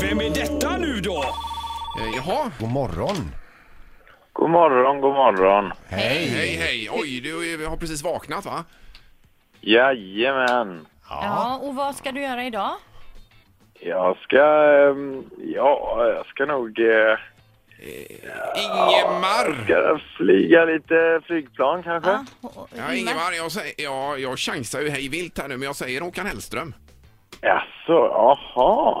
Vem är detta nu då? Eh, Jaha. God morgon. God morgon, god morgon. Hej, hej, hej. Oj, du eh, har precis vaknat va? Jajamän. Ja, och vad ska du göra idag? Jag ska... ehm, Ja, jag ska nog... eh, Ingemar! Ska flyga lite flygplan kanske? Ja, och- och- Ja, Ingemar, jag, säger, ja, jag chansar ju hej vilt här nu, men jag säger Håkan Hellström. Jaså, jaha.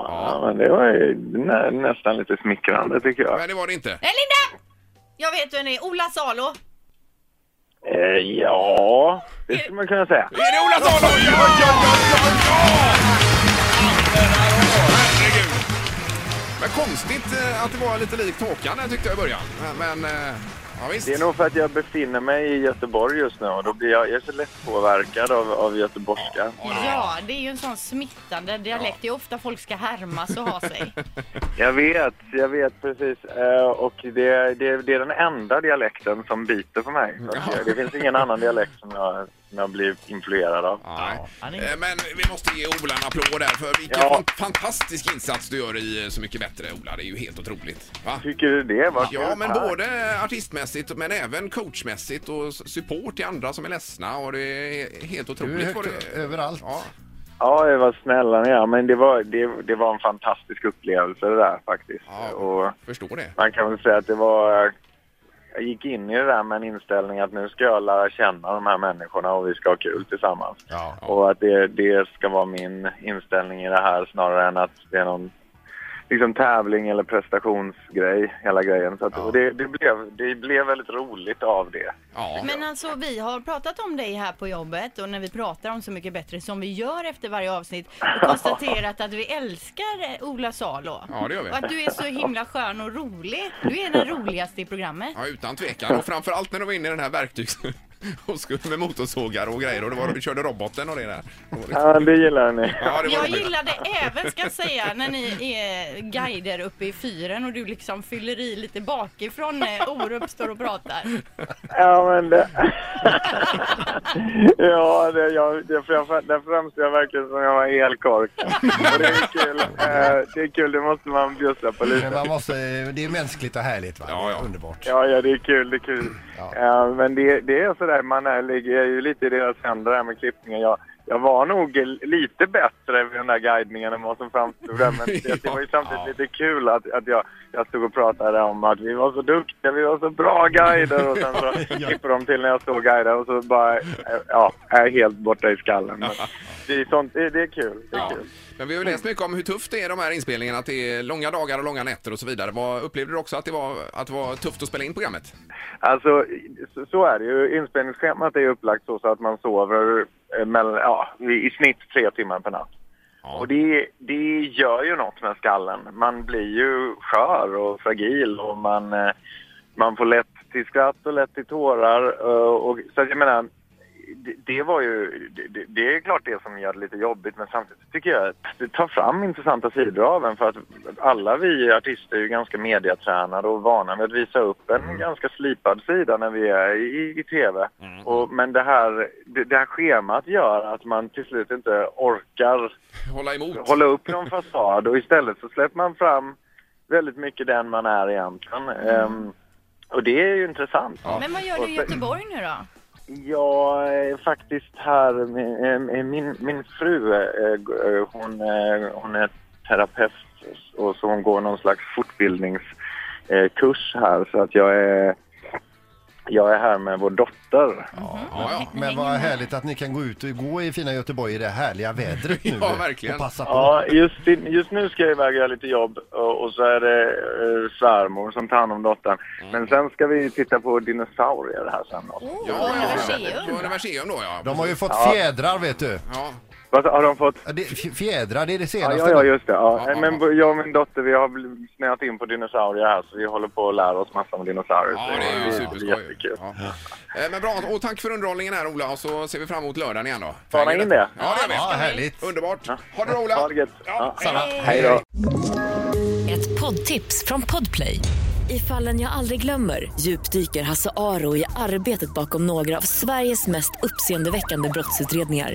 Ja, men det var ju nä, nästan lite smickrande tycker jag. Men det var det inte. Nej, Eh, Linda! Jag vet vem det är. Ola Salo. Eh, ja, det skulle man kunna säga. Är det Ola Salo? Ja, ja, ja, ja, ja! Herregud. Men konstigt eh, att det var lite likt Håkan här, tyckte jag i början. Men, Men, eh, ja visst. Det är nog för att jag befinner mig i Göteborg just nu och då blir jag, jag är så lättpåverkad av, av göteborgskan. Ja, det är ju en sån smittande dialekt. Det är ofta folk ska härmas och ha sig. Jag vet, jag vet precis. Eh, och det, det, det är den enda dialekten som biter på mig. Så att, eh, Det finns ingen annan dialekt som jag, som jag blir influerad av. Ja. Eh, Men vi måste ge Ola en applåd här för vilken Ja. fan- fantastisk insats du gör i eh, Så mycket bättre Ola. Det är ju helt otroligt. Va? Tycker du det? Vad Ja, kul. men Tack. både artistmässigt men även coachmässigt och s- support till andra som är ledsna och det är helt Du är otroligt. vad högt eh, det- överallt. Ja, Ja, vad snälla ni är. Men det var, det, det var en fantastisk upplevelse det där faktiskt. Ja. Och förstår det. man kan väl säga att det var... Jag gick in i det där med en inställning att nu ska jag lära känna de här människorna och vi ska ha kul tillsammans. Ja. Och att det, det ska vara min inställning i det här snarare än att det är någon liksom, tävling eller prestationsgrej, hela grejen. Så att, och det, det, blev, det blev väldigt roligt av det. Ja, Men alltså, vi har pratat om dig här på jobbet och när vi pratar om Så mycket bättre som vi gör efter varje avsnitt och konstaterat att vi älskar eh, Ola Salo. Ja, det gör vi. Och att du är så himla skön och rolig. Du är den roligaste i programmet. ja, utan tvekan. Och framförallt när de var inne i den här verktygs... och skulle med motorsågar och grejer och det var, du körde roboten och det där. Ja, det gillar ni. Ja, det var Jag roligt. gillade även, ska jag säga, när ni är guider uppe i fyren och du liksom fyller i lite bakifrån när Orup står och pratar. Ja, men det... ja, det, jag, det, för jag, där framstår jag verkligen som jag var elkork. Och det är kul. Eh, det är kul, det måste man bjussa på Men lite. man måste, det är mänskligt och härligt va? Ja, ja. Underbart. Ja, ja, det är kul, det är kul. Ja. Eh, men det, det är sådär, man är, ligger ju lite i deras händer här med klippningen. Jag, jag var nog lite bättre vid den där guidningen än vad som framstod där. Men det, det var ju samtidigt lite kul att, att jag, jag stod och pratade om att vi var så duktiga, vi var så bra guider. Och sen så klipper de till när jag står och guidar och så bara, eh, ja, är jag helt borta i skallen. Men det, är sånt, det, det är kul, det är Ja. kul. Men vi har ju läst mycket om hur tufft det är de här inspelningarna, att det är långa dagar och långa nätter och så vidare. Vad, upplevde du också att det, var, att det var tufft att spela in programmet? Alltså, så- så är det ju. Inspelningsschemat är ju upplagt så, så att man sover eh, mellan, ja, i i snitt tre timmar per natt. Och det, det gör ju något med skallen. Man blir ju skör och fragil och man, eh, man får lätt till skratt och lätt till tårar. eh, Och, så att jag menar, det, det var ju, det- det, det är klart det som gör det lite jobbigt men samtidigt tycker jag att det tar fram intressanta sidor av en för att alla vi artister är ju ganska mediatränade och vana vid att visa upp en ganska slipad sida när vi är i, i tv. Och, men det här, det, det här schemat gör att man till slut inte orkar Hålla emot? hålla upp någon fasad och istället så släpper man fram väldigt mycket den man är egentligen. Ehm, och det är ju intressant. Men vad gör du i Göteborg nu då? Jag är faktiskt här. med- eh, Min, min fru eh, g- eh, hon, eh, hon är terapeut och så hon går någon slags fortbildningskurs här. Så att jag är, jag är här med vår dotter. Ja, ja. Men vad härligt att ni kan gå ut och gå i fina Göteborg i det härliga vädret nu. Ja, verkligen. Och passa på. Ja, just, i- just nu ska jag iväg och göra lite jobb och, och så är det eh, svärmor som tar hand om dottern. Men sen ska vi titta på dinosaurier här sen. Också. Åh, Ja, ja, ja. universium. På Universium då, ja. De har ju fått fjädrar vet du. Ja, Vad sa- har de fått? Ja, det, f- fjädrar, det är det Ja, senaste. ja, ja, just det. Ja. Ja, ja, Men b- jag och min dotter vi har bl- snöat in på dinosaurier här så vi håller på att lära oss massa om dinosaurier. Ja, så det är ju jättekul. superskoj. Ja. Eh, Men bra, och tack för underhållningen här Ola och så ser vi fram emot lördagen igen då. Spana in det. Ja, det Ja, gör härligt. vi. Underbart. Ha det bra Ola. Ha det gött. Ja. Samma. Hej då. Ett poddtips från Podplay. I fallen jag aldrig glömmer djupdyker Hasse Aro i arbetet bakom några av Sveriges mest uppseendeväckande brottsutredningar.